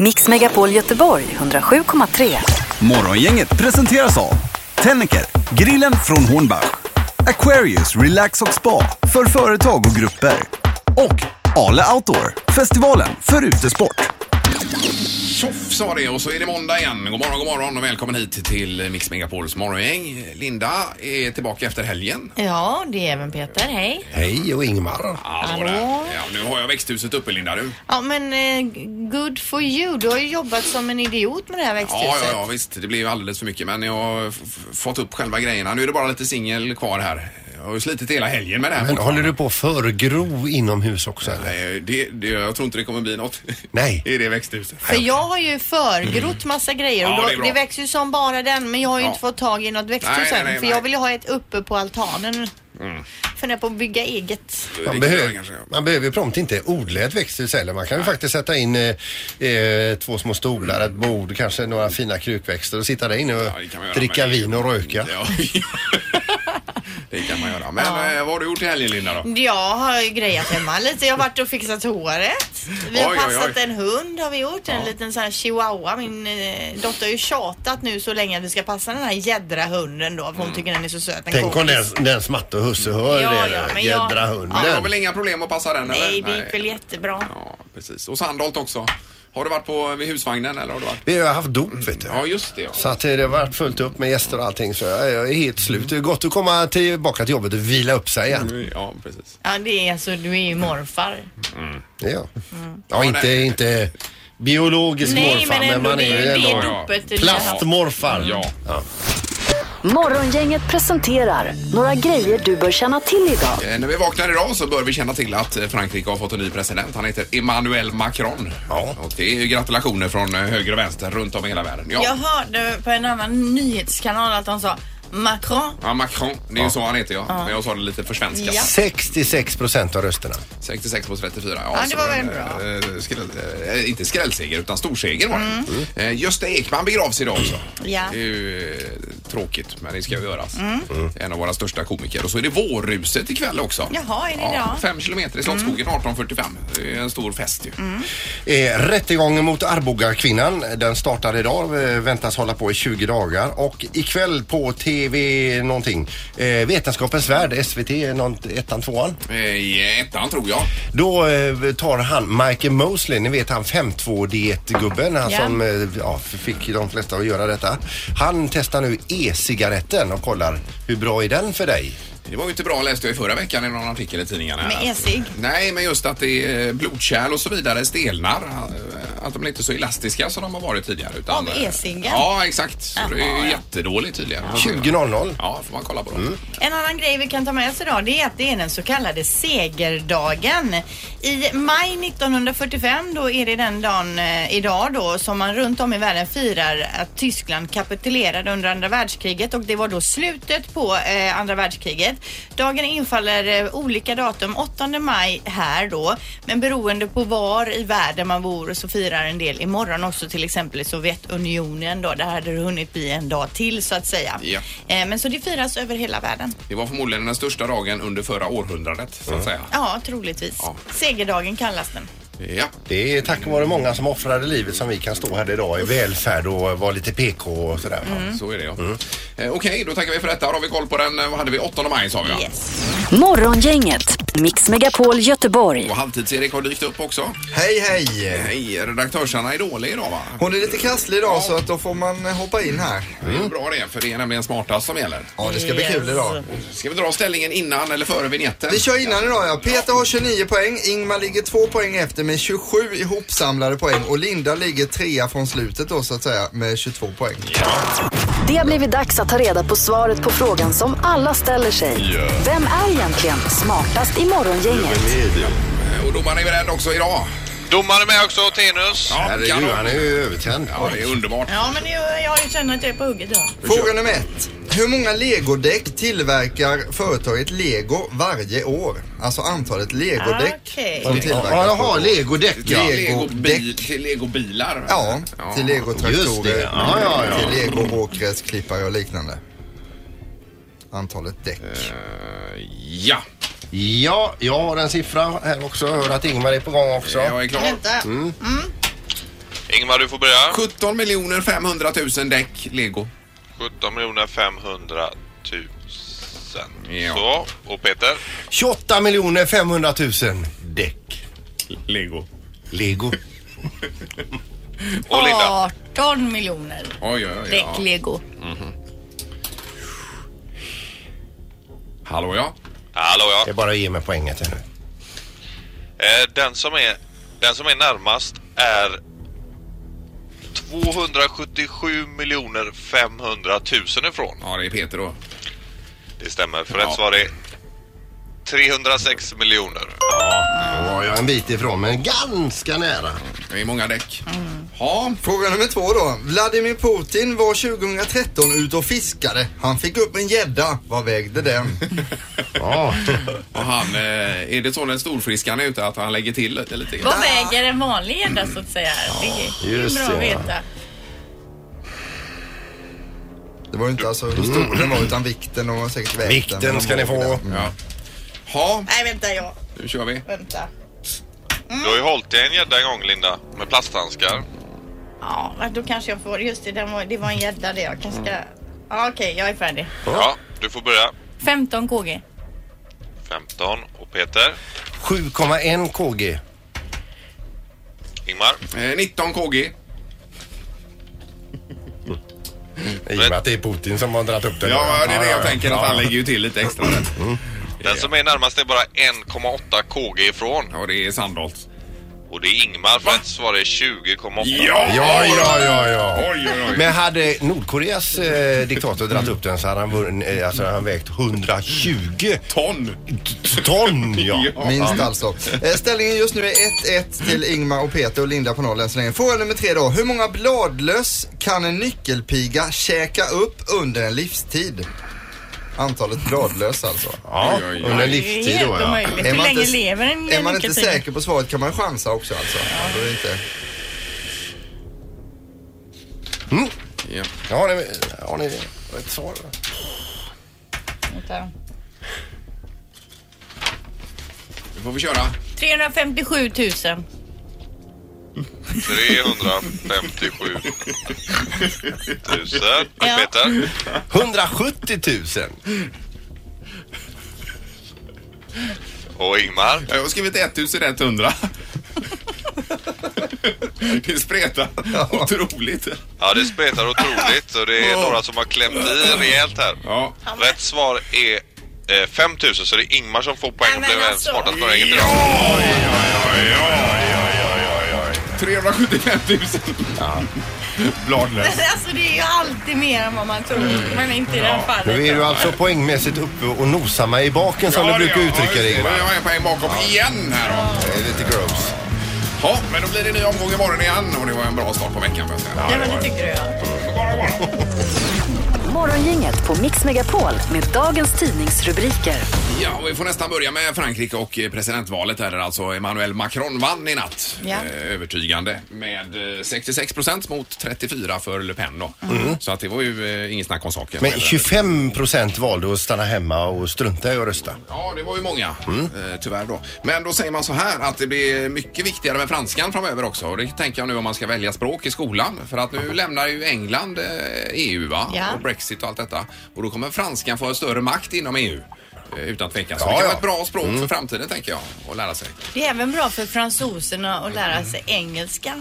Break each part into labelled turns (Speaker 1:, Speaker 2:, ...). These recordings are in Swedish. Speaker 1: Mix Megapol Göteborg 107,3.
Speaker 2: Morgongänget presenteras av Tennecker, grillen från Hornbach. Aquarius Relax och Spa för företag och grupper. Och Ale Outdoor, festivalen för utesport.
Speaker 3: Tjoff sa det och så är det måndag igen. God morgon, god morgon och välkommen hit till Mix Megapols morgongäng. Linda är tillbaka efter helgen.
Speaker 4: Ja, det är även Peter. Hej.
Speaker 5: Hej och Ingmar.
Speaker 3: Hallå där. Ja, nu har jag växthuset uppe Linda du.
Speaker 4: Ja, men eh, good for you. Du har ju jobbat som en idiot med det här växthuset.
Speaker 3: Ja, ja, ja visst. Det blev alldeles för mycket men jag har f- f- fått upp själva grejerna. Nu är det bara lite singel kvar här. Jag har ju slitit hela helgen med det här.
Speaker 5: Men
Speaker 3: fortfarande.
Speaker 5: håller du på att förgro inomhus också eller?
Speaker 3: Nej, det, det, jag tror inte det kommer bli något
Speaker 5: Nej.
Speaker 3: i det växthuset.
Speaker 4: För jag har ju förgrott massa grejer och
Speaker 3: Mm. Ja,
Speaker 4: då,
Speaker 3: det är
Speaker 4: det,
Speaker 3: bra.
Speaker 4: växer ju som bara den men jag har ju
Speaker 3: Ja.
Speaker 4: inte fått tag i något
Speaker 3: Nej,
Speaker 4: växthus
Speaker 3: nej,
Speaker 4: än
Speaker 3: nej,
Speaker 4: för
Speaker 3: nej. Mm.
Speaker 4: jag vill ju ha ett uppe på altanen. Funderar på att bygga eget.
Speaker 5: Man,
Speaker 3: Det kan jag
Speaker 5: behöver,
Speaker 3: kanske.
Speaker 5: man behöver ju prompt inte odla ett växthus heller. Man kan ju faktiskt sätta in eh, eh, två små stolar, ett bord, kanske några fina krukväxter och sitta där inne och
Speaker 3: det kan man göra,
Speaker 5: dricka
Speaker 3: men-
Speaker 5: vin och röka.
Speaker 3: Ja. det kan man göra. Men eh, vad har du gjort i helgen Linda då?
Speaker 4: Jag har ju grejat hemma lite. Jag har varit och fixat håret. Vi har
Speaker 3: Oj, oj, oj.
Speaker 4: passat en hund har vi gjort. En liten sån här chihuahua. Min eh, dotter har ju tjatat nu så länge att vi ska passa den här jädra hunden då. För
Speaker 3: Mm.
Speaker 4: hon tycker den är så söt. En
Speaker 5: Tänk om
Speaker 4: kompis.
Speaker 5: den, den matte och husse hör
Speaker 4: Ja,
Speaker 5: det.
Speaker 4: ja,
Speaker 5: där.
Speaker 4: men jag-
Speaker 3: Du
Speaker 5: Jädra
Speaker 3: har
Speaker 5: hunden.
Speaker 3: väl inga problem att passa den
Speaker 4: Nej,
Speaker 3: eller?
Speaker 4: det gick väl jättebra.
Speaker 3: Ja, precis. Och Sandholt också. Har du varit på vid husvagnen eller har du varit?
Speaker 5: Vi har haft dop vet du.
Speaker 3: Ja, just det. Ja.
Speaker 5: Så att eh, det har varit fullt upp med gäster och allting så jag jag är helt slut. Det är gott att komma tillbaka till jobbet och vila upp sig igen.
Speaker 3: Ja, precis.
Speaker 4: Ja, det är alltså, du är ju morfar. Mm.
Speaker 5: Ja, ja inte,
Speaker 3: nej.
Speaker 5: inte biologisk
Speaker 4: Nej,
Speaker 5: morfar
Speaker 4: men
Speaker 5: men,
Speaker 4: ändå,
Speaker 5: man
Speaker 4: det
Speaker 5: är
Speaker 4: är
Speaker 5: ju
Speaker 4: ju det
Speaker 5: ändå
Speaker 4: dopet. det där.
Speaker 5: plastmorfar.
Speaker 3: Ja.
Speaker 1: Morgongänget presenterar några grejer du bör känna till idag.
Speaker 3: Eh, När vi vaknar idag så bör vi känna till att eh, Frankrike har fått en ny president. Han heter Emmanuel Macron.
Speaker 5: Ja.
Speaker 3: Och det är ju gratulationer från eh, höger och vänster runt om i hela världen. Ja,
Speaker 6: Jag hörde på en annan nyhetskanal att de sa Macron.
Speaker 3: ja Macron. Det är ju så han heter ja. Men jag sa det lite för svenska.
Speaker 4: Ja.
Speaker 5: 66 procent av rösterna.
Speaker 3: 66 mot 34.
Speaker 4: Ja, det
Speaker 3: så
Speaker 4: var väl
Speaker 3: en,
Speaker 4: bra.
Speaker 3: eh, skräll, eh, inte skrällseger utan storseger var det. Eh, Gösta Ekman begravs idag också.
Speaker 4: Mm. Ja. Mm.
Speaker 3: Det är ju eh, tråkigt men det ska ju göras. En av våra största komiker. Och så är det vårruset ikväll också.
Speaker 4: Jaha, är Mm. det
Speaker 3: Ja,
Speaker 4: idag?
Speaker 3: fem kilometer i Slottsskogen 18.45. Det är en stor fest ju.
Speaker 4: Mm.
Speaker 5: Eh, rättegången mot Arboga kvinnan den startar idag, eh, väntas hålla på i 20 dagar och ikväll på TV någonting, eh, Vetenskapens Värld, SVT, någon, ettan, tvåan.
Speaker 3: Eh, I ettan tror jag.
Speaker 5: Då eh, tar han Michael Mosley, ni vet han 5.2-dietgubben, han
Speaker 4: Ja.
Speaker 5: som eh, ja, fick de flesta att göra detta. Han testar nu e-cigaretten och kollar hur bra är den för dig?
Speaker 3: Det var ju inte bra läste jag i förra veckan i någon artikel i tidningarna. här.
Speaker 4: Med
Speaker 3: Att-
Speaker 4: e-cigg?
Speaker 3: Nej, men just att det är eh, blodkärl och så vidare stelnar. eh, Att de är inte är så elastiska som de har varit tidigare. Utan,
Speaker 4: Av
Speaker 3: eh,
Speaker 4: e-ciggen?
Speaker 3: Ja, exakt. Så det är
Speaker 4: Jaha,
Speaker 3: ju
Speaker 4: ja.
Speaker 3: jättedåligt tydligen.
Speaker 5: 20.00.
Speaker 3: Ja, får man kolla på det.
Speaker 4: En annan grej vi kan ta med oss idag det är att det är den så kallade segerdagen. I maj 1945 då är det den dagen eh, idag då som man runt om i världen firar att Tyskland kapitulerade under andra världskriget och det var då slutet på eh, andra världskriget. Dagen infaller eh, olika datum, 8 maj här då men beroende på var i världen man bor så firar en del imorgon också till exempel i Sovjetunionen då. Där hade det hunnit bli en dag till så att säga.
Speaker 3: Ja.
Speaker 4: Eh, Men så det firas över hela världen.
Speaker 3: Det var förmodligen den största dagen under förra århundradet, så att säga.
Speaker 4: Ja, troligtvis.
Speaker 3: Ja.
Speaker 4: Segerdagen kallas den.
Speaker 3: Ja.
Speaker 5: Det är tack vare många som offrade livet som vi kan stå här idag i välfärd och vara lite PK och sådär.
Speaker 4: Mm.
Speaker 3: Så är det ja. Eh, Okej, då tackar vi för detta. Då har vi koll på den, eh, vad hade vi, 8 maj sa vi ja.
Speaker 4: Yes.
Speaker 1: Morgongänget, Mix Megapol Göteborg.
Speaker 3: Och Halvtids-Erik har dykt upp också.
Speaker 7: Hej hej!
Speaker 3: Hej, redaktörsarna är dålig idag va?
Speaker 7: Hon är lite krasslig idag så att då får man eh, hoppa in här.
Speaker 3: Det är ju bra det, för det är nämligen smartast som gäller.
Speaker 7: Ja, det ska bli kul idag.
Speaker 3: Ska vi dra ställningen innan eller före vignetten?
Speaker 7: Vi kör innan idag ja. Peter har 29 poäng, Ingmar ligger 2 poäng efter med 27 ihopsamlade poäng och Linda ligger trea från slutet då så att säga med 22 poäng.
Speaker 1: Det har blivit dags att ta reda på svaret på frågan som alla ställer sig. Vem är egentligen smartast i morgongänget?
Speaker 3: Och domaren är beredd också idag.
Speaker 8: Domare med också, Tenus.
Speaker 3: Ja,
Speaker 5: Herregud, han är ju övertänd.
Speaker 3: Ja, det är underbart.
Speaker 4: Ja, men jag, jag känner att jag är på hugget idag.
Speaker 7: Fråga nummer ett. Hur många legodäck tillverkar företaget Lego varje år? Alltså antalet legodäck
Speaker 4: Okej.
Speaker 7: som tillverkas.
Speaker 5: Ja, jaha, legodäck
Speaker 3: Till
Speaker 5: ja.
Speaker 7: Legodäck.
Speaker 3: legobil- Till legobilar.
Speaker 7: Ja, till
Speaker 5: Just det,
Speaker 7: legotraktorer,
Speaker 5: ja, ja, ja.
Speaker 7: till legoåkgräsklippare och liknande. Antalet däck.
Speaker 5: Eh.
Speaker 3: Ja,
Speaker 5: Ja, jag har en siffra här också. Hör att Ingmar är på gång också.
Speaker 3: jag är klar.
Speaker 4: Vänta. Mm.
Speaker 8: Ingmar, du får börja.
Speaker 3: 17 miljoner 500 000 däck Lego.
Speaker 8: 17 miljoner 500 000.
Speaker 3: Ja.
Speaker 8: Så, och Peter?
Speaker 5: 28 miljoner 500 000 däck.
Speaker 3: Lego.
Speaker 5: Lego.
Speaker 8: Och Linda?
Speaker 4: 18 miljoner
Speaker 3: Oj, oj, oj. Ja.
Speaker 4: däck-lego.
Speaker 3: Hallå ja.
Speaker 8: Hallå
Speaker 5: Det
Speaker 8: ja.
Speaker 5: är bara att ge mig poänget här nu.
Speaker 8: Eh, Den som är, den som är närmast är 277 miljoner 500 000 ifrån.
Speaker 3: Ja, det är Peter då.
Speaker 8: Det stämmer, för
Speaker 3: Ja.
Speaker 8: rätt svar är 306 miljoner.
Speaker 5: Då var jag en bit ifrån men ganska nära.
Speaker 3: Det är många däck. Ja,
Speaker 7: Fråga nummer två då. Vladimir Putin var 2013 ute och fiskade. Han fick upp en gädda. Vad vägde den?
Speaker 5: Ja.
Speaker 3: och han, eh, är det så den storfriskan är ute att han lägger till lite? lite?
Speaker 4: Vad väger en vanlig gädda så att säga? Det är ju
Speaker 5: just
Speaker 4: bra
Speaker 5: det,
Speaker 4: att
Speaker 5: ja.
Speaker 4: veta.
Speaker 7: Det var ju inte alltså hur stor den var utan vikten och säkert vägden.
Speaker 5: Vikten ska ni få.
Speaker 7: Mm.
Speaker 3: Ja. Ja,
Speaker 4: Nej, vänta jag.
Speaker 3: nu kör vi.
Speaker 4: Vänta.
Speaker 8: Du har ju hållit i en gädda en gång Linda, med plasthandskar.
Speaker 4: Ja, men då kanske jag får. Just det, den var, det var en gädda det. Jag kanske ska... Ja, okej, jag är färdig.
Speaker 8: Ja, du får börja.
Speaker 4: 15 kg.
Speaker 8: 15 och Peter.
Speaker 5: 7,1 kg.
Speaker 8: Ingmar.
Speaker 3: Eh, 19 KG.
Speaker 5: I och med att det är Putin som har dragit upp den.
Speaker 3: Ja, det är det jag tänker att han lägger ju till lite extra där.
Speaker 8: Den som är närmast är bara 1,8 kg ifrån.
Speaker 3: Ja, det är Sandholt.
Speaker 8: Och det är Ingmar för att svara är 20,8.
Speaker 5: Ja, ja, ja, ja.
Speaker 3: Oj, oj, oj.
Speaker 5: Men hade Nordkoreas eh, diktator dragit upp den så hade han, vunn- eh, alltså, han vägt 120
Speaker 3: Ton.
Speaker 5: ton. Ja.
Speaker 7: Minst alltså. Eh, Ställningen just nu är 1-1 till Ingmar och Peter och Linda på noll än så länge. Fråga nummer tre då. Hur många bladlöss kan en nyckelpiga käka upp under en livstid? Antalet bladlöss alltså.
Speaker 5: Ja,
Speaker 3: Oj, oj, oj.
Speaker 5: under en
Speaker 4: Det är
Speaker 5: livstid
Speaker 4: helt
Speaker 5: då ja.
Speaker 4: omöjligt. Hur länge lever en
Speaker 7: är man inte
Speaker 4: lyckopig?
Speaker 7: säker på svaret kan man chansa också alltså. Ja, då är det inte.
Speaker 3: Ja.
Speaker 5: Ja, Har ni, har ni ett svar?
Speaker 4: Vänta.
Speaker 3: Nu får vi köra.
Speaker 4: 357 000.
Speaker 8: 357 000. Och
Speaker 4: Ja.
Speaker 8: Peter.
Speaker 5: 170 000.
Speaker 8: Och Ingmar.
Speaker 3: Jag har skrivit 1100. Det spretar otroligt.
Speaker 8: Ja, det spretar otroligt och det är några som har klämt i rejält här.
Speaker 3: Ja.
Speaker 8: Rätt svar är eh, 5000 så det är Ingmar som får poäng och
Speaker 4: Nej, men
Speaker 8: blev en
Speaker 4: alltså.
Speaker 8: smartast poängen idag.
Speaker 3: 375 000. Bladlös.
Speaker 4: Alltså det är ju alltid mer än vad man tror. Men inte i det här fallet.
Speaker 5: Nu är du alltså poängmässigt uppe och nosar mig i baken som du brukar uttrycka dig Ingmar.
Speaker 3: Jag är på en bakom igen här då.
Speaker 5: Det är lite gross.
Speaker 3: Ja, men då blir det ny omgång imorgon igen och det var en bra start på veckan får jag säga.
Speaker 4: Ja, men det tycker du ja.
Speaker 1: Morgongänget på Mix Megapol med dagens tidningsrubriker.
Speaker 3: Ja, och vi får nästan börja med Frankrike och eh, presidentvalet där alltså Emmanuel Macron vann i natt.
Speaker 4: Ja.
Speaker 3: Eh, Övertygande med eh, 66 procent mot 34 för Le Pen då.
Speaker 4: Mm.
Speaker 3: Så att det var ju eh, inget snack om saken.
Speaker 5: Men 25 procent valde att stanna hemma och strunta i att rösta.
Speaker 3: Ja, det var ju många.
Speaker 4: Mm.
Speaker 3: Eh, tyvärr då. Men då säger man så här att det blir mycket viktigare med franskan framöver också. Och det tänker jag nu om man ska välja språk i skolan. För att nu lämnar ju England eh, EU va?
Speaker 4: Ja.
Speaker 3: Och Brexit och allt detta. Och då kommer franskan få en större makt inom EU. eh, Utan tvekan. Så
Speaker 5: Ja,
Speaker 3: det kan
Speaker 5: ja.
Speaker 3: vara ett bra språk
Speaker 4: Mm.
Speaker 3: för framtiden tänker jag. Att lära sig.
Speaker 4: Det är även bra för fransoserna att lära sig engelska.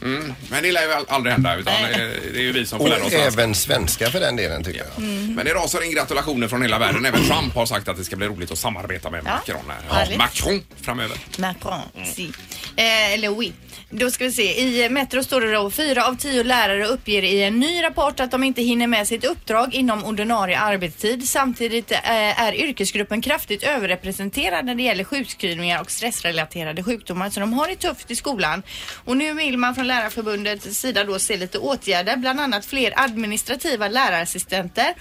Speaker 3: Men det lär ju al- aldrig hända utan
Speaker 4: Nej.
Speaker 3: eh, det är ju vi som får
Speaker 5: Och
Speaker 3: lära oss franska.
Speaker 5: även svenska för den delen tycker jag.
Speaker 3: Men det rasar in gratulationer från hela världen. Även Trump har sagt att det ska bli roligt att samarbeta med
Speaker 4: Ja,
Speaker 3: Macron här.
Speaker 4: härligt.
Speaker 3: Ja, Macron framöver.
Speaker 4: Macron, si. Eh, eller oui. Då ska vi se. I Metro står det då fyra av tio lärare uppger i en ny rapport att de inte hinner med sitt uppdrag inom ordinarie arbetstid. Samtidigt eh, är yrkesgruppen kraftigt överrepresenterad när det gäller sjukskrivningar och stressrelaterade sjukdomar. Så de har det tufft i skolan. Och nu vill man från Lärarförbundets sida då se lite åtgärder, bland annat fler administrativa lärarassistenter,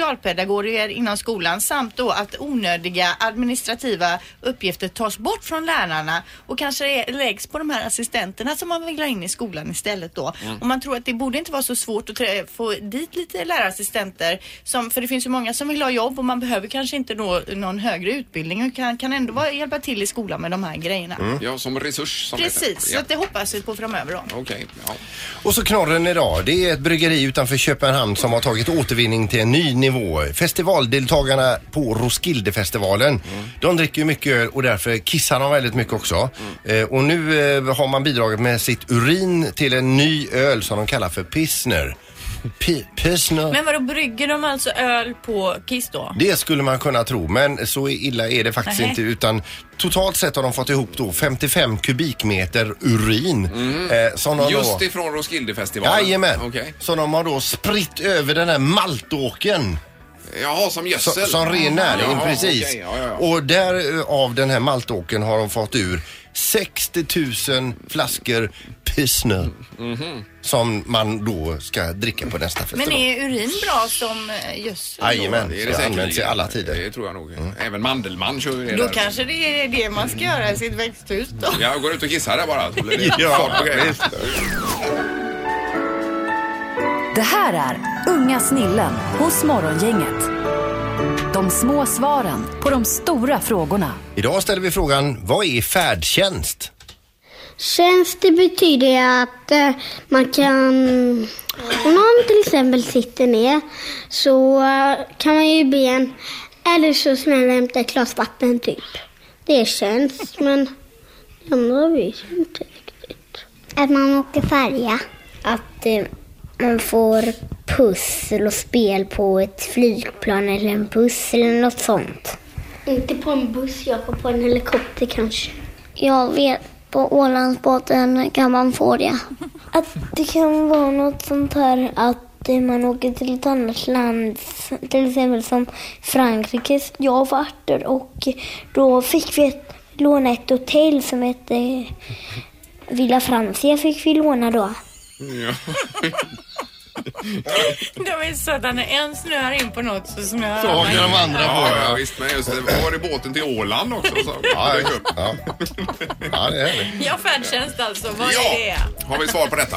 Speaker 4: socialpedagoger inom skolan samt då att onödiga administrativa uppgifter tas bort från lärarna och kanske läggs på de här assistenterna som man vill ha in i skolan istället då.
Speaker 3: Mm.
Speaker 4: Och man tror att det borde inte vara så svårt att trä- få dit lite lärarassistenter som, för det finns ju många som vill ha jobb och man behöver kanske inte nå någon högre utbildning och kan, kan ändå vara, hjälpa till i skolan med de här grejerna.
Speaker 3: Ja, som resurs som det heter.
Speaker 4: Precis, så
Speaker 3: Mm. Ja.
Speaker 4: att det hoppas vi på framöver då.
Speaker 3: okej. Ja.
Speaker 5: Och så knorren idag. Det är ett bryggeri utanför Köpenhamn som har tagit återvinning till en ny nivå. Festivaldeltagarna på Roskildefestivalen, de dricker ju mycket öl och därför kissar de väldigt mycket också. Eh, och nu eh, har man bidragit med sitt urin till en ny öl som de kallar för Pilsner. Pi- Pilsner.
Speaker 6: Men vadå, brygger de alltså öl på Kiss då?
Speaker 5: Det skulle man kunna tro, men så illa är det faktiskt
Speaker 6: Nähä.
Speaker 5: inte. Utan totalt sett har de fått ihop då 55 kubikmeter urin. Eh, som de då...
Speaker 3: Just ifrån Roskildefestivalen?
Speaker 5: Jajamän.
Speaker 3: Okej.
Speaker 5: Så de har då spritt över den här maltåken
Speaker 3: Jaha, som
Speaker 5: som,
Speaker 3: gödsel?
Speaker 5: som ren näring,
Speaker 3: Jaha,
Speaker 5: precis.
Speaker 3: okej, ja, ja, ja.
Speaker 5: Och där eh, av den här maltåken har de fått ur 60 000 flaskor pilsner.
Speaker 3: Mhm.
Speaker 5: Som man då ska dricka på nästa festival.
Speaker 6: Men är urin bra som eh, gödsel?
Speaker 5: Jajamän,
Speaker 3: Det är
Speaker 5: det
Speaker 3: det
Speaker 5: har använts i
Speaker 3: säkerligen.
Speaker 5: alla tider. Mm.
Speaker 3: Det tror jag nog. Även Mandelmann kör ju det
Speaker 4: Då
Speaker 3: där.
Speaker 4: kanske det är det man ska göra i sitt växthus då.
Speaker 3: Jag går ut och kissar där bara. Så blir det fart på grejerna.
Speaker 1: Det här är Unga snillen hos Morgongänget. De små svaren på de stora frågorna.
Speaker 5: Idag ställer vi frågan, vad är färdtjänst?
Speaker 9: Tjänst det betyder att eh, man kan, om någon till exempel sitter ner så eh, kan man ju be en eller så snälla hämta ett glas vatten typ. Det är tjänst men det andra vet jag inte riktigt. Att man åker färja. Att eh, man får pussel och spel på ett flygplan eller en buss eller något sånt. Inte på en buss, Jakob. På en helikopter kanske. Jag vet. På Ålandsbåten kan man få det. Att det kan vara något sånt här att eh, man åker till ett annat land, till exempel som Frankrike. Jag har varit där och då fick vi ett, låna ett hotell som hette Villa Francia fick vi låna då.
Speaker 10: Äh,
Speaker 6: De är sådana, när en snöar in på något så snöar alla
Speaker 5: Frågar de andra
Speaker 3: Ja, ja, visst. Men just det, var det båten till Åland också? Så.
Speaker 5: Ja, ja. ja det är det.
Speaker 6: Ja, färdtjänst alltså. Vad är det?
Speaker 3: Ja, har vi svar på detta?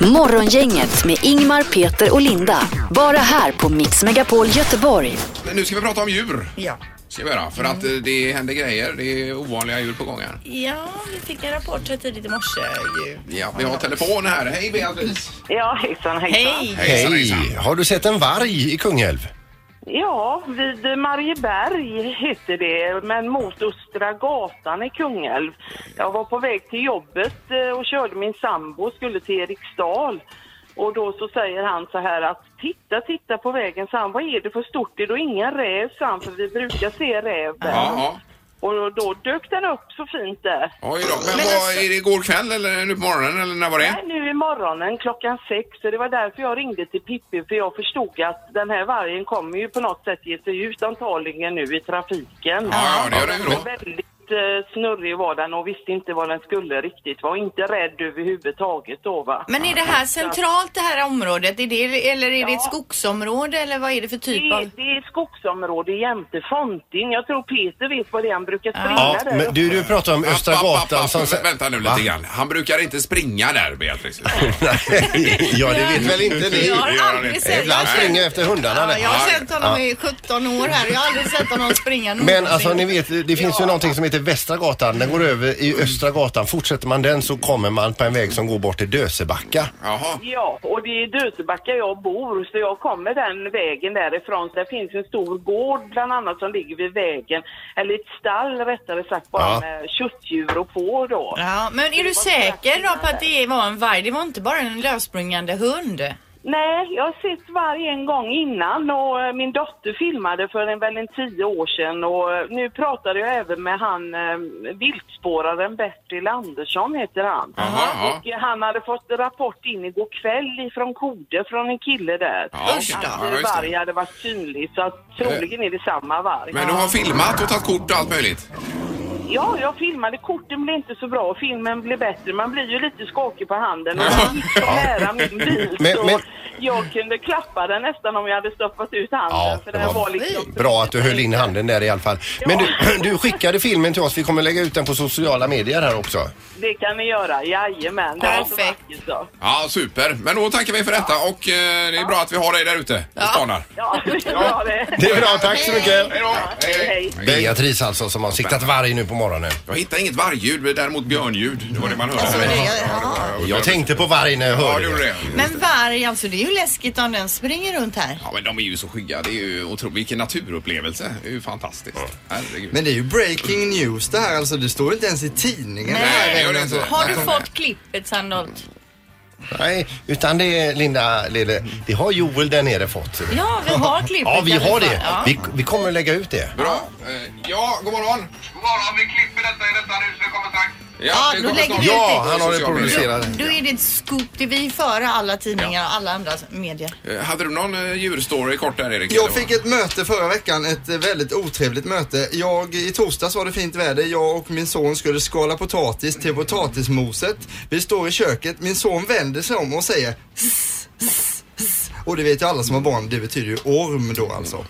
Speaker 1: Morgongänget med Ingmar, Peter och Linda. Bara här på Mix Megapol Göteborg.
Speaker 3: Men nu ska vi prata om djur.
Speaker 4: Ja.
Speaker 3: Ska vi göra, för att eh, det händer grejer. Det är ovanliga djur på gång här.
Speaker 6: Ja, vi fick en rapport här tidigt i morse ju.
Speaker 3: Ja, vi har telefon här. Hej Beatrice!
Speaker 10: Ja, hejsan, hejsan.
Speaker 6: Hej!
Speaker 3: Hejsan, hejsan.
Speaker 5: Hej! Har du sett en varg i Kungälv?
Speaker 10: Ja, vid Marieberg heter det, men mot Östra gatan i Kungälv. Jag var på väg till jobbet eh, och körde min sambo och skulle till Eriksdal. Och då så säger han så här att titta, titta på vägen, så han, vad är det för stort? Det är då ingen räv, sa han, för vi brukar se räv där.
Speaker 3: Ja,
Speaker 10: Och då, då dök den upp så fint där.
Speaker 3: ja. Oj då. Men, alltså- vad, är det igår kväll eller nu på morgonen eller när var det?
Speaker 10: Nej, nu i morgonen klockan sex. Så det var därför jag ringde till Pippi, för jag förstod att den här vargen kommer ju på något sätt ge sig ut antagligen nu i trafiken.
Speaker 3: Ja, ja, det gör den ju då.
Speaker 10: Men Väldigt eh, snurrig var den och visste inte vad den skulle riktigt. Var inte rädd överhuvudtaget då va.
Speaker 4: Men är det här centralt det här området? Är det, eller är det ett skogsområde eller vad är det för typ
Speaker 10: Det,
Speaker 4: av?
Speaker 10: det är skogsområde jämte Fontin. Jag tror Peter vet vad det är. Han brukar springa
Speaker 5: Ja,
Speaker 10: där
Speaker 5: men
Speaker 10: uppe.
Speaker 5: du, du pratar om Östra
Speaker 3: App, app, app,
Speaker 5: gatan
Speaker 3: app.
Speaker 5: som...
Speaker 3: Vä- Vänta nu lite
Speaker 5: Va?
Speaker 3: grann. Han brukar inte springa där, Beatrice.
Speaker 5: ja, det vet väl inte
Speaker 3: Det
Speaker 5: ni?
Speaker 3: gör
Speaker 4: Jag har
Speaker 3: han
Speaker 4: aldrig
Speaker 3: inte.
Speaker 4: sett
Speaker 5: Ibland
Speaker 4: jag-
Speaker 5: springer jag efter hundarna.
Speaker 4: Ja,
Speaker 5: där.
Speaker 4: jag har sett honom i 17 år här jag har aldrig sett honom springa någonsin.
Speaker 5: Men
Speaker 10: Mm.
Speaker 5: alltså ni vet, det finns ju någonting som heter Västra gatan. Den går över i
Speaker 10: Mm.
Speaker 5: Östra gatan. Fortsätter man den så kommer man på en väg som går bort till Dösebacka.
Speaker 3: Jaha.
Speaker 10: Ja, och det är i Dösebacka jag bor, så jag kommer den vägen därifrån. Så det finns en stor gård bland annat som ligger vid vägen, eller ett stall rättare sagt, bara
Speaker 5: Ja.
Speaker 10: med köttdjur och får då.
Speaker 4: Ja, men är du säker då på att det var en varg? Det var inte bara en lösspringande hund?
Speaker 10: Nej, jag har sett varg en gång innan och eh, min dotter filmade för en, väl en tio år sedan och eh, nu pratade jag även med han eh, viltspåraren Bertil Andersson heter han.
Speaker 3: Jaha, ja.
Speaker 10: Och eh, han hade fått rapport in igår kväll ifrån Kode från en kille där.
Speaker 3: Ja,
Speaker 4: Usch
Speaker 3: okej.
Speaker 4: då.
Speaker 3: Ja,
Speaker 10: varg
Speaker 3: just det.
Speaker 10: hade varit synlig så att troligen är det samma varg.
Speaker 3: Men du har filmat och tagit kort och allt möjligt?
Speaker 10: Ja, jag filmade. Korten blev inte så bra och filmen blev bättre. Man blir ju lite skakig på handen och
Speaker 3: Ja.
Speaker 10: den gick så nära min bil
Speaker 5: Men-
Speaker 10: så
Speaker 5: men-
Speaker 10: jag kunde klappa den nästan om jag hade stoppat ut handen.
Speaker 5: Ja,
Speaker 10: för
Speaker 5: det
Speaker 10: den
Speaker 5: var
Speaker 10: var, liksom...
Speaker 5: Bra att du höll in handen där i alla fall. Men du, du skickade filmen till oss. Vi kommer lägga ut den på sociala medier här också.
Speaker 10: Det kan ni göra, jajamän. Det var så
Speaker 4: Perfekt.
Speaker 10: vackert så.
Speaker 3: Ja, super. Men då tackar vi för detta och eh, det är bra att vi har dig där ute och spanar.
Speaker 10: Ja, det är bra det.
Speaker 5: Det är bra, tack så mycket.
Speaker 3: Hej då!
Speaker 10: Hej, hej.
Speaker 5: Beatrice alltså som har siktat varg nu på morgonen.
Speaker 3: Jag hittar inget vargljud, men däremot björnljud. Det var det man hörde.
Speaker 4: det-
Speaker 3: Ja, det var- och-
Speaker 5: Jag tänkte på varg när jag
Speaker 3: Ja, det
Speaker 5: hörde
Speaker 3: gjorde det.
Speaker 4: Men varg, alltså det är ju läskigt om den springer runt här.
Speaker 3: Ja, men de är ju så skygga. Det är ju otroligt. Vilken naturupplevelse. Det är ju fantastiskt. Herregud.
Speaker 7: Men det är ju breaking news det här alltså. Det står inte ens i tidningen.
Speaker 4: Nej,
Speaker 7: den här
Speaker 3: det gör
Speaker 7: veckan,
Speaker 3: det inte.
Speaker 7: alltså.
Speaker 4: Har du
Speaker 3: Nej.
Speaker 4: fått klippet Sandholt?
Speaker 5: Nej, utan det är Linda Lille, det har Joel där nere fått.
Speaker 4: Ja, vi har klippet.
Speaker 5: Ja, vi
Speaker 4: i alla
Speaker 5: har
Speaker 4: fall.
Speaker 5: det.
Speaker 4: Ja.
Speaker 5: Vi, vi kommer att lägga ut det.
Speaker 3: Bra. Eh, Ja, god morgon.
Speaker 10: God morgon, vi klipper detta i detta nu så det kommer strax.
Speaker 4: Ja,
Speaker 3: det
Speaker 4: då
Speaker 3: kommer
Speaker 4: lägger
Speaker 3: snart.
Speaker 4: vi ut
Speaker 5: Ja,
Speaker 4: det.
Speaker 5: han har det
Speaker 3: Sociala medier.
Speaker 5: producerat.
Speaker 4: Då är det ett scoop. Det är vi före alla tidningar och alla andra medier.
Speaker 3: Eh, Hade du någon eh, djurstory kort där Erik?
Speaker 7: Jag fick ett möte förra veckan, ett eh, väldigt otrevligt möte. Jag, I torsdags var det fint väder. Jag och min son skulle skala potatis till potatismoset. Vi står i köket. Min son vänder sig om och säger "Ss, ss, ss." och det vet ju alla som har barn, det betyder ju orm då alltså.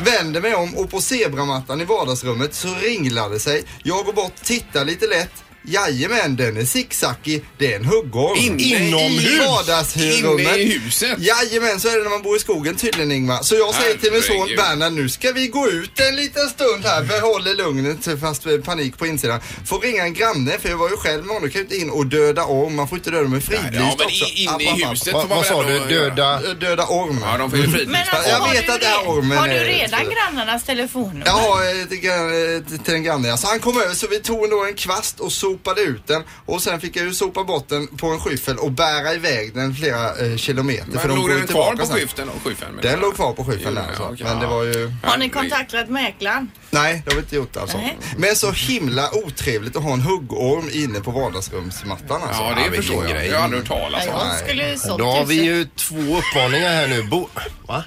Speaker 7: Vänder mig om och på zebramattan i vardagsrummet så ringlar det sig. Jag går bort, tittar lite lätt. Jajamän, den är zigzackig. Det är en huggorm.
Speaker 3: In-
Speaker 7: I
Speaker 3: inomhus?
Speaker 7: vardagsrummet.
Speaker 3: Inne i huset?
Speaker 7: Jajamän, så är det när man bor i skogen tydligen Ingmar. Så jag säger till min son
Speaker 3: Herregud.
Speaker 7: Bernhard, nu ska vi gå ut en liten stund här. Behåller lugnet fast vi har panik på insidan. Får ringa en granne, för jag var ju själv med honom. kan ju inte in och döda orm. Man får inte döda dem med fridlyst
Speaker 3: Ja, men
Speaker 7: också.
Speaker 3: i-
Speaker 7: App,
Speaker 3: inne
Speaker 7: app,
Speaker 3: i
Speaker 7: app.
Speaker 3: huset
Speaker 5: Vad,
Speaker 3: får man
Speaker 5: vad sa
Speaker 3: väl
Speaker 5: du?
Speaker 3: ändå göra.
Speaker 5: Döda...
Speaker 7: Döda orm.
Speaker 3: Ja, de får ju fridlysta.
Speaker 4: Men alltså,
Speaker 7: jag
Speaker 4: har,
Speaker 7: vet
Speaker 4: du
Speaker 7: att det här
Speaker 4: re-
Speaker 7: ormen
Speaker 4: har du
Speaker 7: är-
Speaker 4: redan grannarnas telefonnummer?
Speaker 7: Jag har eh, till gran- eh, till- till en granne. ja. Så han kom över så vi tog då en kvast och sopade ut den och sen fick jag ju sopa bort den på en skyffel och bära iväg den flera eh, kilometer.
Speaker 3: Men
Speaker 7: för de
Speaker 3: låg
Speaker 7: går ju
Speaker 3: den kvar
Speaker 7: tillbaka
Speaker 3: på
Speaker 7: sen.
Speaker 3: skyffeln? och skyffeln menar
Speaker 7: Den
Speaker 3: jag?
Speaker 7: låg kvar på skyffeln
Speaker 3: Gjorde
Speaker 7: där
Speaker 3: den,
Speaker 7: alltså.
Speaker 3: okej.
Speaker 7: Men det var ju...
Speaker 4: Har ni kontaktat mäklaren?
Speaker 7: Nej, det har vi inte gjort alltså.
Speaker 4: Nej.
Speaker 7: Men så himla otrevligt att ha en huggorm inne på vardagsrumsmattan alltså.
Speaker 3: Ja, det förstår jag.
Speaker 7: grej.
Speaker 3: Jag har aldrig hört talas om.
Speaker 4: Jag skulle ju sålt
Speaker 5: Då har vi
Speaker 4: huset.
Speaker 5: ju två uppmaningar här nu. Bo... Va?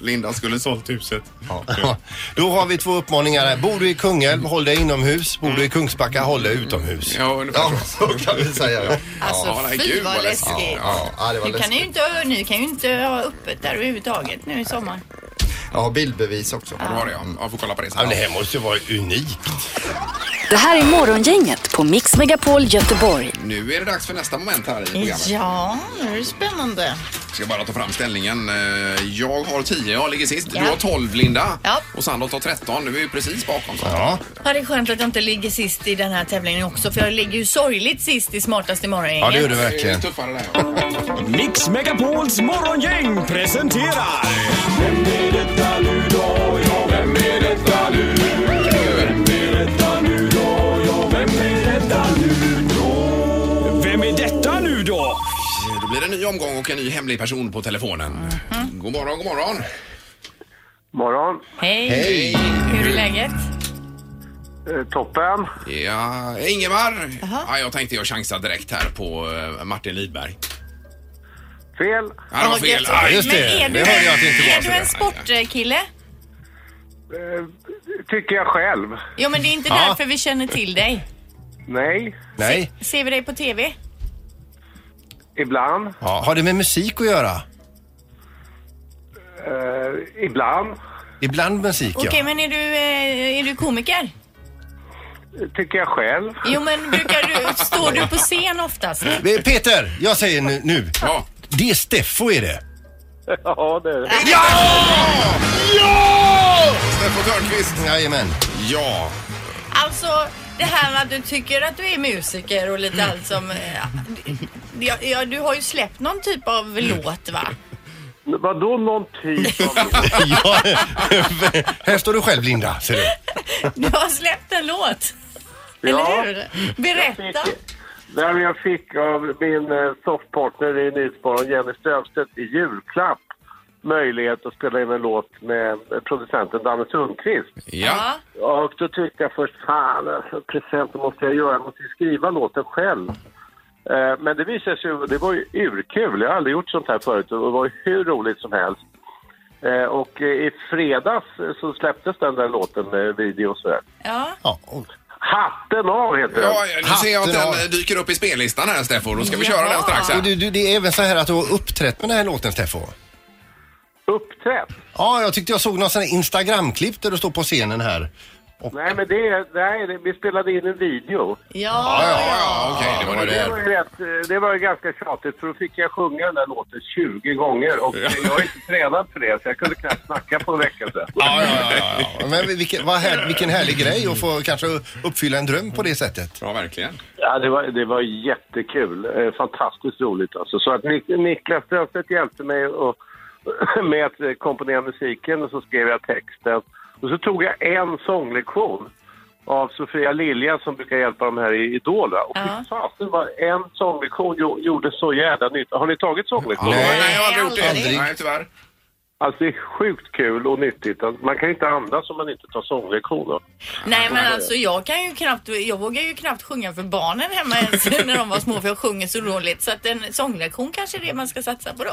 Speaker 3: Linda skulle sålt huset.
Speaker 5: Ja. Då har vi två uppmaningar här. Bor du i Kungälv, håll dig inomhus. Bor du i Kungsbacka, håll dig utomhus.
Speaker 3: Ja, ungefär
Speaker 7: Ja,
Speaker 3: så.
Speaker 7: så kan vi säga. Ja,
Speaker 4: Alltså
Speaker 3: Ja, nej,
Speaker 4: fy
Speaker 3: gud,
Speaker 4: vad
Speaker 3: vad läskigt.
Speaker 4: läskigt.
Speaker 7: ja, ja det var
Speaker 4: Nu kan ni, ju
Speaker 7: läskigt.
Speaker 4: inte, ni kan ju inte ha öppet där överhuvudtaget nu i sommar.
Speaker 7: Ja, bildbevis också.
Speaker 3: Ja, det var det ja. Jag får kolla på det
Speaker 5: Ja, men
Speaker 3: sen.
Speaker 5: det här måste ju vara unikt.
Speaker 1: Det här är Morgongänget på Mix Megapol Göteborg.
Speaker 3: Nu är det dags för nästa moment här i programmet.
Speaker 4: Ja, nu är det spännande.
Speaker 3: Ska bara ta fram ställningen. Eh, Jag har 10, jag ligger sist.
Speaker 4: Ja.
Speaker 3: Du har 12 Linda.
Speaker 4: Ja.
Speaker 3: Och Sandholt har 13. Du är ju precis bakom. Så.
Speaker 5: Ja.
Speaker 4: Ja, det är skönt att jag inte ligger sist i den här tävlingen också för jag ligger ju sorgligt sist i smartast i morgon.
Speaker 5: Ja, det gör du
Speaker 3: Det är
Speaker 5: verkligen.
Speaker 3: tuffare där. ja. Eh,
Speaker 11: Mix Megapols morgongäng presenterar... Vem är detta nu då? Ja, vem är detta nu? Vem är detta nu då? Ja, vem är detta nu då? Vem är detta nu då?
Speaker 3: Då blir det en ny omgång och en ny hemlig person på telefonen.
Speaker 4: Mhm.
Speaker 3: God morgon, god morgon.
Speaker 10: Morgon,
Speaker 4: Hej. Hur är läget?
Speaker 10: Eh, toppen.
Speaker 3: Ja, Ingemar. Ja, jag tänkte jag chansar direkt här på eh, Martin Lidberg.
Speaker 10: Fel.
Speaker 3: Ja, det var
Speaker 4: Åh,
Speaker 3: fel.
Speaker 4: gött.
Speaker 3: Aj,
Speaker 5: Just
Speaker 4: Men
Speaker 5: det,
Speaker 4: är du-
Speaker 5: det hörde jag att det inte var
Speaker 4: Är du
Speaker 5: så där.
Speaker 4: en sportkille?
Speaker 10: tycker jag själv.
Speaker 4: Jo, men det är inte
Speaker 5: Ja.
Speaker 4: därför vi känner till dig.
Speaker 10: Nej.
Speaker 5: Nej.
Speaker 4: Ser vi dig på TV?
Speaker 10: Ibland.
Speaker 5: Ja. Har det med musik att göra?
Speaker 10: Eh, ibland.
Speaker 5: Ibland musik,
Speaker 4: Okej,
Speaker 5: ja.
Speaker 4: men är du, eh, är du komiker?
Speaker 10: Tycker jag själv.
Speaker 4: Jo, men brukar du, står du på scen oftast?
Speaker 5: Eh, Peter, jag säger nu. nu.
Speaker 3: Ja.
Speaker 5: Det är Steffo är det.
Speaker 10: Ja, det är det.
Speaker 3: Steffo Törnqvist.
Speaker 5: Jajamän.
Speaker 3: Ja.
Speaker 4: Alltså, det här med att du tycker att du är musiker och lite allt som... eh, Ja, ja, du har ju släppt någon typ av låt, va?
Speaker 10: Vadå någon typ av...
Speaker 5: Ja. Här står du själv, Linda. Ser du.
Speaker 4: Du har släppt en låt. Eller hur? Berätta.
Speaker 10: Nej, men jag fick av min eh, softpartner i Nyhetsmorgon, Jenny Strömstedt, i julklapp möjlighet att spela in en låt med eh, producenten Danne Sundqvist.
Speaker 3: Ja.
Speaker 10: Och då tyckte jag först, fan alltså, presenten måste jag göra, jag måste ju skriva låten själv. Eh, Men det visade sig, ju- det var ju urkul, jag har aldrig gjort sånt här förut och det var ju hur roligt som helst. Eh, Och eh, i fredags eh, så släpptes den där låten med video och sådär.
Speaker 4: Ja.
Speaker 5: Ja. och-
Speaker 10: Hatten av heter den!
Speaker 3: Ja, nu ser jag att
Speaker 5: Hatten
Speaker 3: den
Speaker 5: av.
Speaker 3: dyker upp i spellistan här, Steffo. Då ska vi köra den strax
Speaker 5: Och
Speaker 3: här.
Speaker 5: du, du, det är även så här att du har uppträtt med den här låten, Steffo.
Speaker 10: Uppträtt!
Speaker 5: Ja, jag tyckte jag såg någon sån här Instagram-klipp där du står på scenen här.
Speaker 8: Nej, men det är, nej, det- vi spelade in en video.
Speaker 12: Ja,
Speaker 8: ja,
Speaker 3: ja, okej, det var det.
Speaker 8: Det var, ju rätt, eh, det var ju ganska tjatigt, för då fick jag sjunga den där låten 20 gånger och jag är inte tränad för det, så jag kunde knappt snacka på en vecka sedan.
Speaker 5: Ja, ja, ja, ja. Men vilken, vad här, vilken härlig grej att få kanske uppfylla en dröm på det sättet.
Speaker 3: Ja, verkligen.
Speaker 8: Ja, det var, det var jättekul. Eh, Fantastiskt roligt alltså. Så att Nik- Niklas Strömstedt hjälpte mig och, med att eh, komponera musiken och så skrev jag texten. Och så tog jag en sånglektion av Sofia Lilja som brukar hjälpa de här i Idol. va? Och fy fasen vad en sånglektion jo, gjorde så jävla nytta. Har ni tagit sånglektion?
Speaker 3: jag har aldrig gjort det. Nej, tyvärr.
Speaker 8: Alltså det är sjukt kul och nyttigt. Alltså, Man kan ju inte andas om man inte tar sånglektioner.
Speaker 4: Nej men alltså jag kan ju knappt, jag vågar ju knappt sjunga för barnen hemma ens när de var små för jag sjunger så dåligt. Så att en sånglektion kanske är det man ska satsa på då.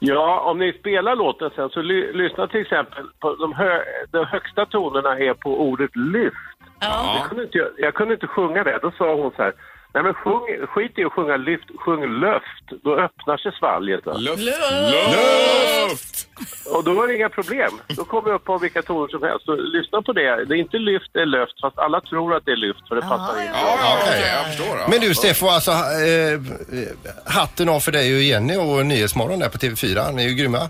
Speaker 8: Ja, om ni spelar låten sen så ly- lyssna till exempel på de, hö- de högsta tonerna är på ordet lyft. Jag, kunde inte, jag, jag kunde inte sjunga det. Då sa hon så här, nej men sjung, skit i att sjunga lyft, sjung löft. Då öppnar sig svalget. va."
Speaker 3: Luft!
Speaker 8: Och då var det inga problem. Då kom jag upp på vilka toner som helst. Så lyssna på det. Det är inte lyft, det är löft. Fast alla tror att det är lyft för det passar in.
Speaker 3: Ja, ja, okej, jag förstår. Ja.
Speaker 5: Men du Steffo, alltså eh, eh, hatten av för dig och Jenny och Nyhetsmorgon där på TV4. Ni är ju grymma.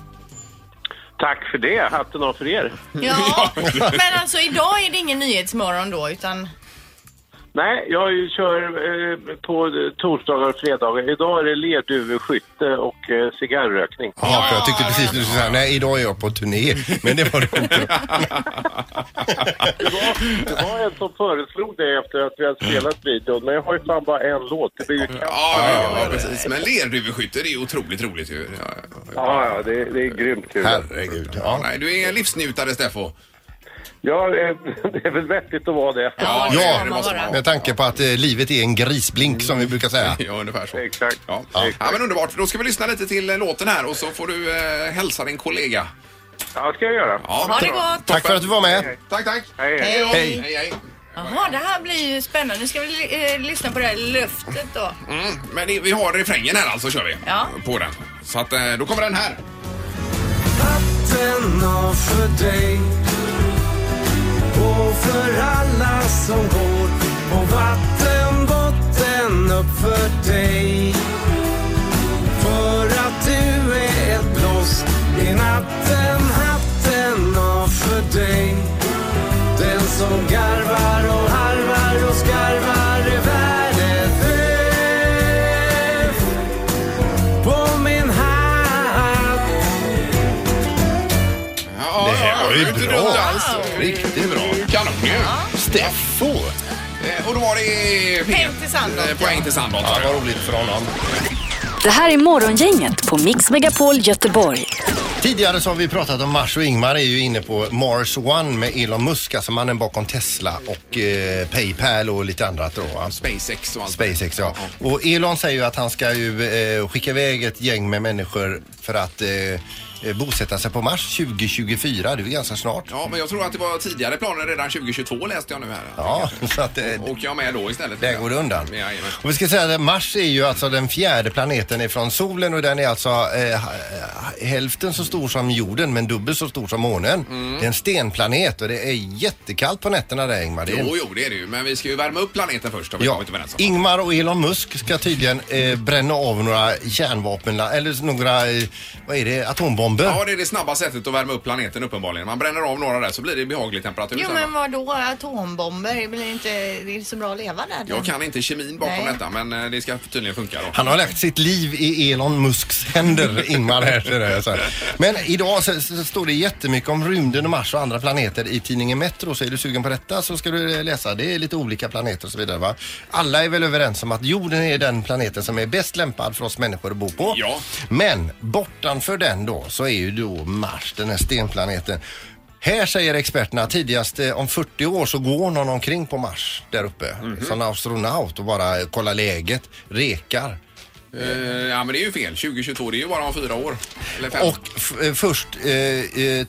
Speaker 8: Tack för det. Hatten av för er.
Speaker 4: Ja, men alltså idag är det ingen nyhetsmorgon då utan
Speaker 8: Nej, jag kör eh, på torsdagar och fredagar. Idag är det lerduveskytte och eh, cigarrökning.
Speaker 5: Ja, för jag tyckte precis du skulle säga nej idag är jag på turné. Men det var det inte.
Speaker 8: Det var, det var en som föreslog det efter att vi hade spelat videon, men jag har ju fan bara en låt. Det blir ju kaos.
Speaker 3: Ja, ja, ja, precis. Men lerduveskytte, det är ju otroligt roligt ju. Ja, ja.
Speaker 8: Ja, ja, det, det är grymt kul.
Speaker 5: Herregud. Ja.
Speaker 3: Nej, du är en livsnjutare, Steffo.
Speaker 8: Ja, eh, det är väl vettigt att vara det.
Speaker 3: Ja, det,
Speaker 5: Ja,
Speaker 3: det måste man
Speaker 5: med tanke på att eh, livet är en grisblink som vi brukar säga.
Speaker 3: Ja, ungefär så.
Speaker 8: Exakt.
Speaker 3: Ja. Ja. men underbart. Då ska vi lyssna lite till eh, låten här och så får du eh, hälsa din kollega.
Speaker 8: Ja, det ska jag göra.
Speaker 3: Ja,
Speaker 4: ha det gott!
Speaker 5: Tack för att du var med.
Speaker 3: Tack, tack.
Speaker 8: Hej, hej.
Speaker 3: då.
Speaker 5: Hej.
Speaker 3: hej, hej.
Speaker 4: Jaha, det här blir ju spännande. Nu ska vi eh, lyssna på det här löftet då.
Speaker 3: Mm, men det, vi har refrängen här alltså, kör vi.
Speaker 4: Ja.
Speaker 3: På den. Så att, eh, då kommer den här.
Speaker 11: Hatten av för dig och för alla som går på vattenbotten uppför dig. För att du är ett blås i natten, hatten av för dig. Den som garvar och harvar och skarvar är värdet på min hatt.
Speaker 3: Ja, det här var ju inte
Speaker 5: bra.
Speaker 3: dumt alls.
Speaker 5: Riktigt bra.
Speaker 3: Kanon ju.
Speaker 5: Steffo!
Speaker 3: Eh, Och då var det... Poäng
Speaker 4: till Sandholt,
Speaker 3: Poäng till Sandholt.
Speaker 5: Ja,
Speaker 3: sa
Speaker 5: vad
Speaker 3: jag.
Speaker 5: roligt för honom.
Speaker 1: Det här är Morgongänget på Mix Megapol Göteborg.
Speaker 5: Tidigare så har vi pratat om Mars och Ingmar är ju inne på Mars One med Elon Musk, alltså mannen bakom Tesla och eh, Paypal och lite annat då. va?
Speaker 3: SpaceX och allt.
Speaker 5: SpaceX ja. Och Elon säger ju att han ska ju eh, skicka iväg ett gäng med människor för att eh, eh, bosätta sig på Mars 2024. Det är ju ganska snart.
Speaker 3: Ja, men jag tror att det var tidigare planer redan 2022 läste jag nu här.
Speaker 5: Ja, så att eh,
Speaker 3: Åker jag med då istället?
Speaker 5: där går det undan.
Speaker 3: Jajamän.
Speaker 5: Och vi ska säga att Mars är ju alltså den fjärde planeten ifrån solen och den är alltså eh, ha- eh, hälften så stor som jorden men dubbelt så stor som månen. Det är en stenplanet och det är jättekallt på nätterna där Ingmar. Det är en
Speaker 3: Jo, jo, det är det ju. Men vi ska ju värma upp planeten först. Har vi
Speaker 5: Ja,
Speaker 3: kommit överens om.
Speaker 5: Ingmar och Elon Musk ska tydligen eh, bränna av några kärnvapen, eller några, eh, vad är det, atombomber.
Speaker 3: Ja, det är det snabba sättet att värma upp planeten uppenbarligen. Man bränner av några där så blir det behaglig temperatur
Speaker 4: Jo
Speaker 3: sen,
Speaker 4: men
Speaker 3: va?
Speaker 4: vad då atombomber? Det blir inte det är så bra att leva där.
Speaker 3: Jag kan inte kemin bakom
Speaker 4: Nej.
Speaker 3: detta, men eh, det ska tydligen funka då.
Speaker 5: Han har lagt sitt liv i Elon Musks händer, Ingmar. Här, ser det, så här. Men idag så, så står det jättemycket om rymden och Mars och andra planeter i tidningen Metro. Så är du sugen på detta så ska du eh, läsa. Det är lite olika planeter och så vidare. Va? Alla är väl överens om att jorden är den planeten som är bäst lämpad för oss människor att bo på.
Speaker 3: Ja.
Speaker 5: Men bortanför den då så är ju då Mars, den här stenplaneten. Här säger experterna att tidigast eh, om 40 år så går någon omkring på Mars där uppe
Speaker 3: Mhm.
Speaker 5: som astronaut och bara eh, kollar läget, rekar.
Speaker 3: Eh, ja, men det är ju fel. 2022, det är ju bara om fyra år. Eller fem.
Speaker 5: Och f- eh, först eh, eh,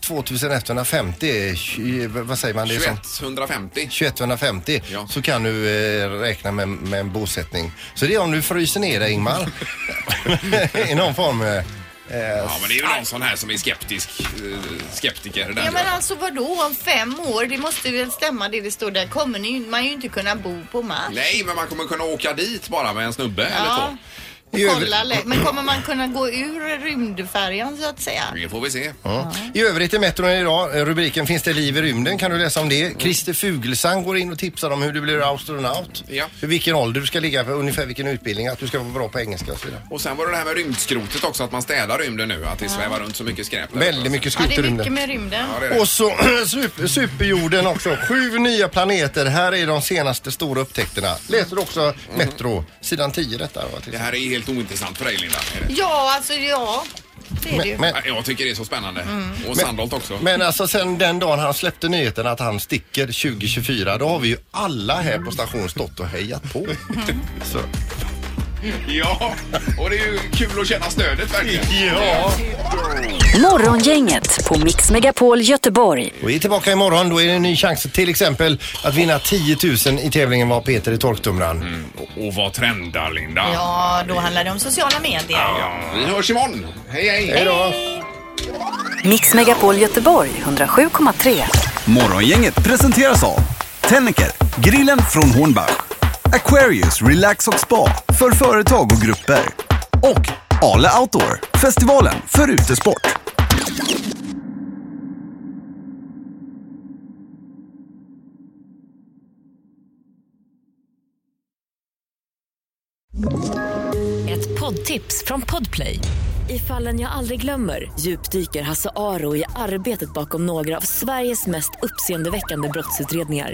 Speaker 5: 2150, eh, tj- eh, vad säger man? Det är som-
Speaker 3: 2150.
Speaker 5: 2150
Speaker 3: Ja.
Speaker 5: så kan du eh, räkna med, med en bosättning. Så det är om du fryser ner dig Ingmar. I någon form. eh,
Speaker 3: Ja, men det är ju någon sån här som är skeptisk. eh, Skeptiker. Den
Speaker 4: Ja men alltså vadå om fem år? Det måste väl stämma det det står där. Kommer ni, man ju inte kunna bo på Mars.
Speaker 3: Nej, men man kommer kunna åka dit bara med en snubbe eller två.
Speaker 4: och kolla lä- Men kommer man kunna gå ur rymdfärjan så att säga?
Speaker 3: Det får vi se.
Speaker 5: Ja. I övrigt i Metron idag, eh, rubriken Finns det liv i rymden? Kan du läsa om det? Christer Fuglesang går in och tipsar om hur du blir astronaut.
Speaker 3: Ja.
Speaker 5: För vilken ålder du ska ligga för, ungefär vilken utbildning, att du ska vara bra på engelska och så vidare.
Speaker 3: Och sen var det det här med rymdskrotet också, att man städar rymden nu. Att det svävar runt så mycket skräp. där.
Speaker 5: Väldigt mycket
Speaker 4: Ja
Speaker 5: skrot
Speaker 4: det
Speaker 5: i
Speaker 4: är mycket
Speaker 5: rymden.
Speaker 4: med rymden.
Speaker 3: Ja, det är det.
Speaker 5: Och så super, superjorden också. Sju nya planeter. Här är de senaste stora upptäckterna. Läser också Metro, sidan 10 detta. Va, till
Speaker 3: Det här är helt ointressant för dig Linda. Är det?
Speaker 4: Ja alltså ja. Det är det ju.
Speaker 5: men, men,
Speaker 3: Ja, Jag tycker det är så spännande.
Speaker 4: Mm.
Speaker 3: Och Sandholt också.
Speaker 5: men alltså sen den dagen han släppte nyheten att han sticker 2024, då har vi ju alla här på station stått och hejat på. Så.
Speaker 3: Ja, och det är ju kul att känna stödet verkligen.
Speaker 5: Ja.
Speaker 13: Morgongänget på Mix Megapol Göteborg.
Speaker 5: Och vi är tillbaka imorgon. Då är det en ny chans till exempel att vinna 10 000 i tävlingen Vad Peter i torktumlaren.
Speaker 3: Och, och vad trendar Linda?
Speaker 14: Ja, då handlar det om sociala medier.
Speaker 3: Ja, vi hörs imorgon. Hej, hej!
Speaker 5: Hej då!
Speaker 13: Mix Megapol Göteborg 107,3.
Speaker 11: Morgongänget presenteras av Tennicker, grillen från Hornbach, Aquarius Relax och Spa för företag och grupper och Ale Outdoor, festivalen för utesport.
Speaker 1: Ett poddtips från Podplay. I fallen jag aldrig glömmer djupdyker Hasse Aro i arbetet bakom några av Sveriges mest uppseendeväckande brottsutredningar.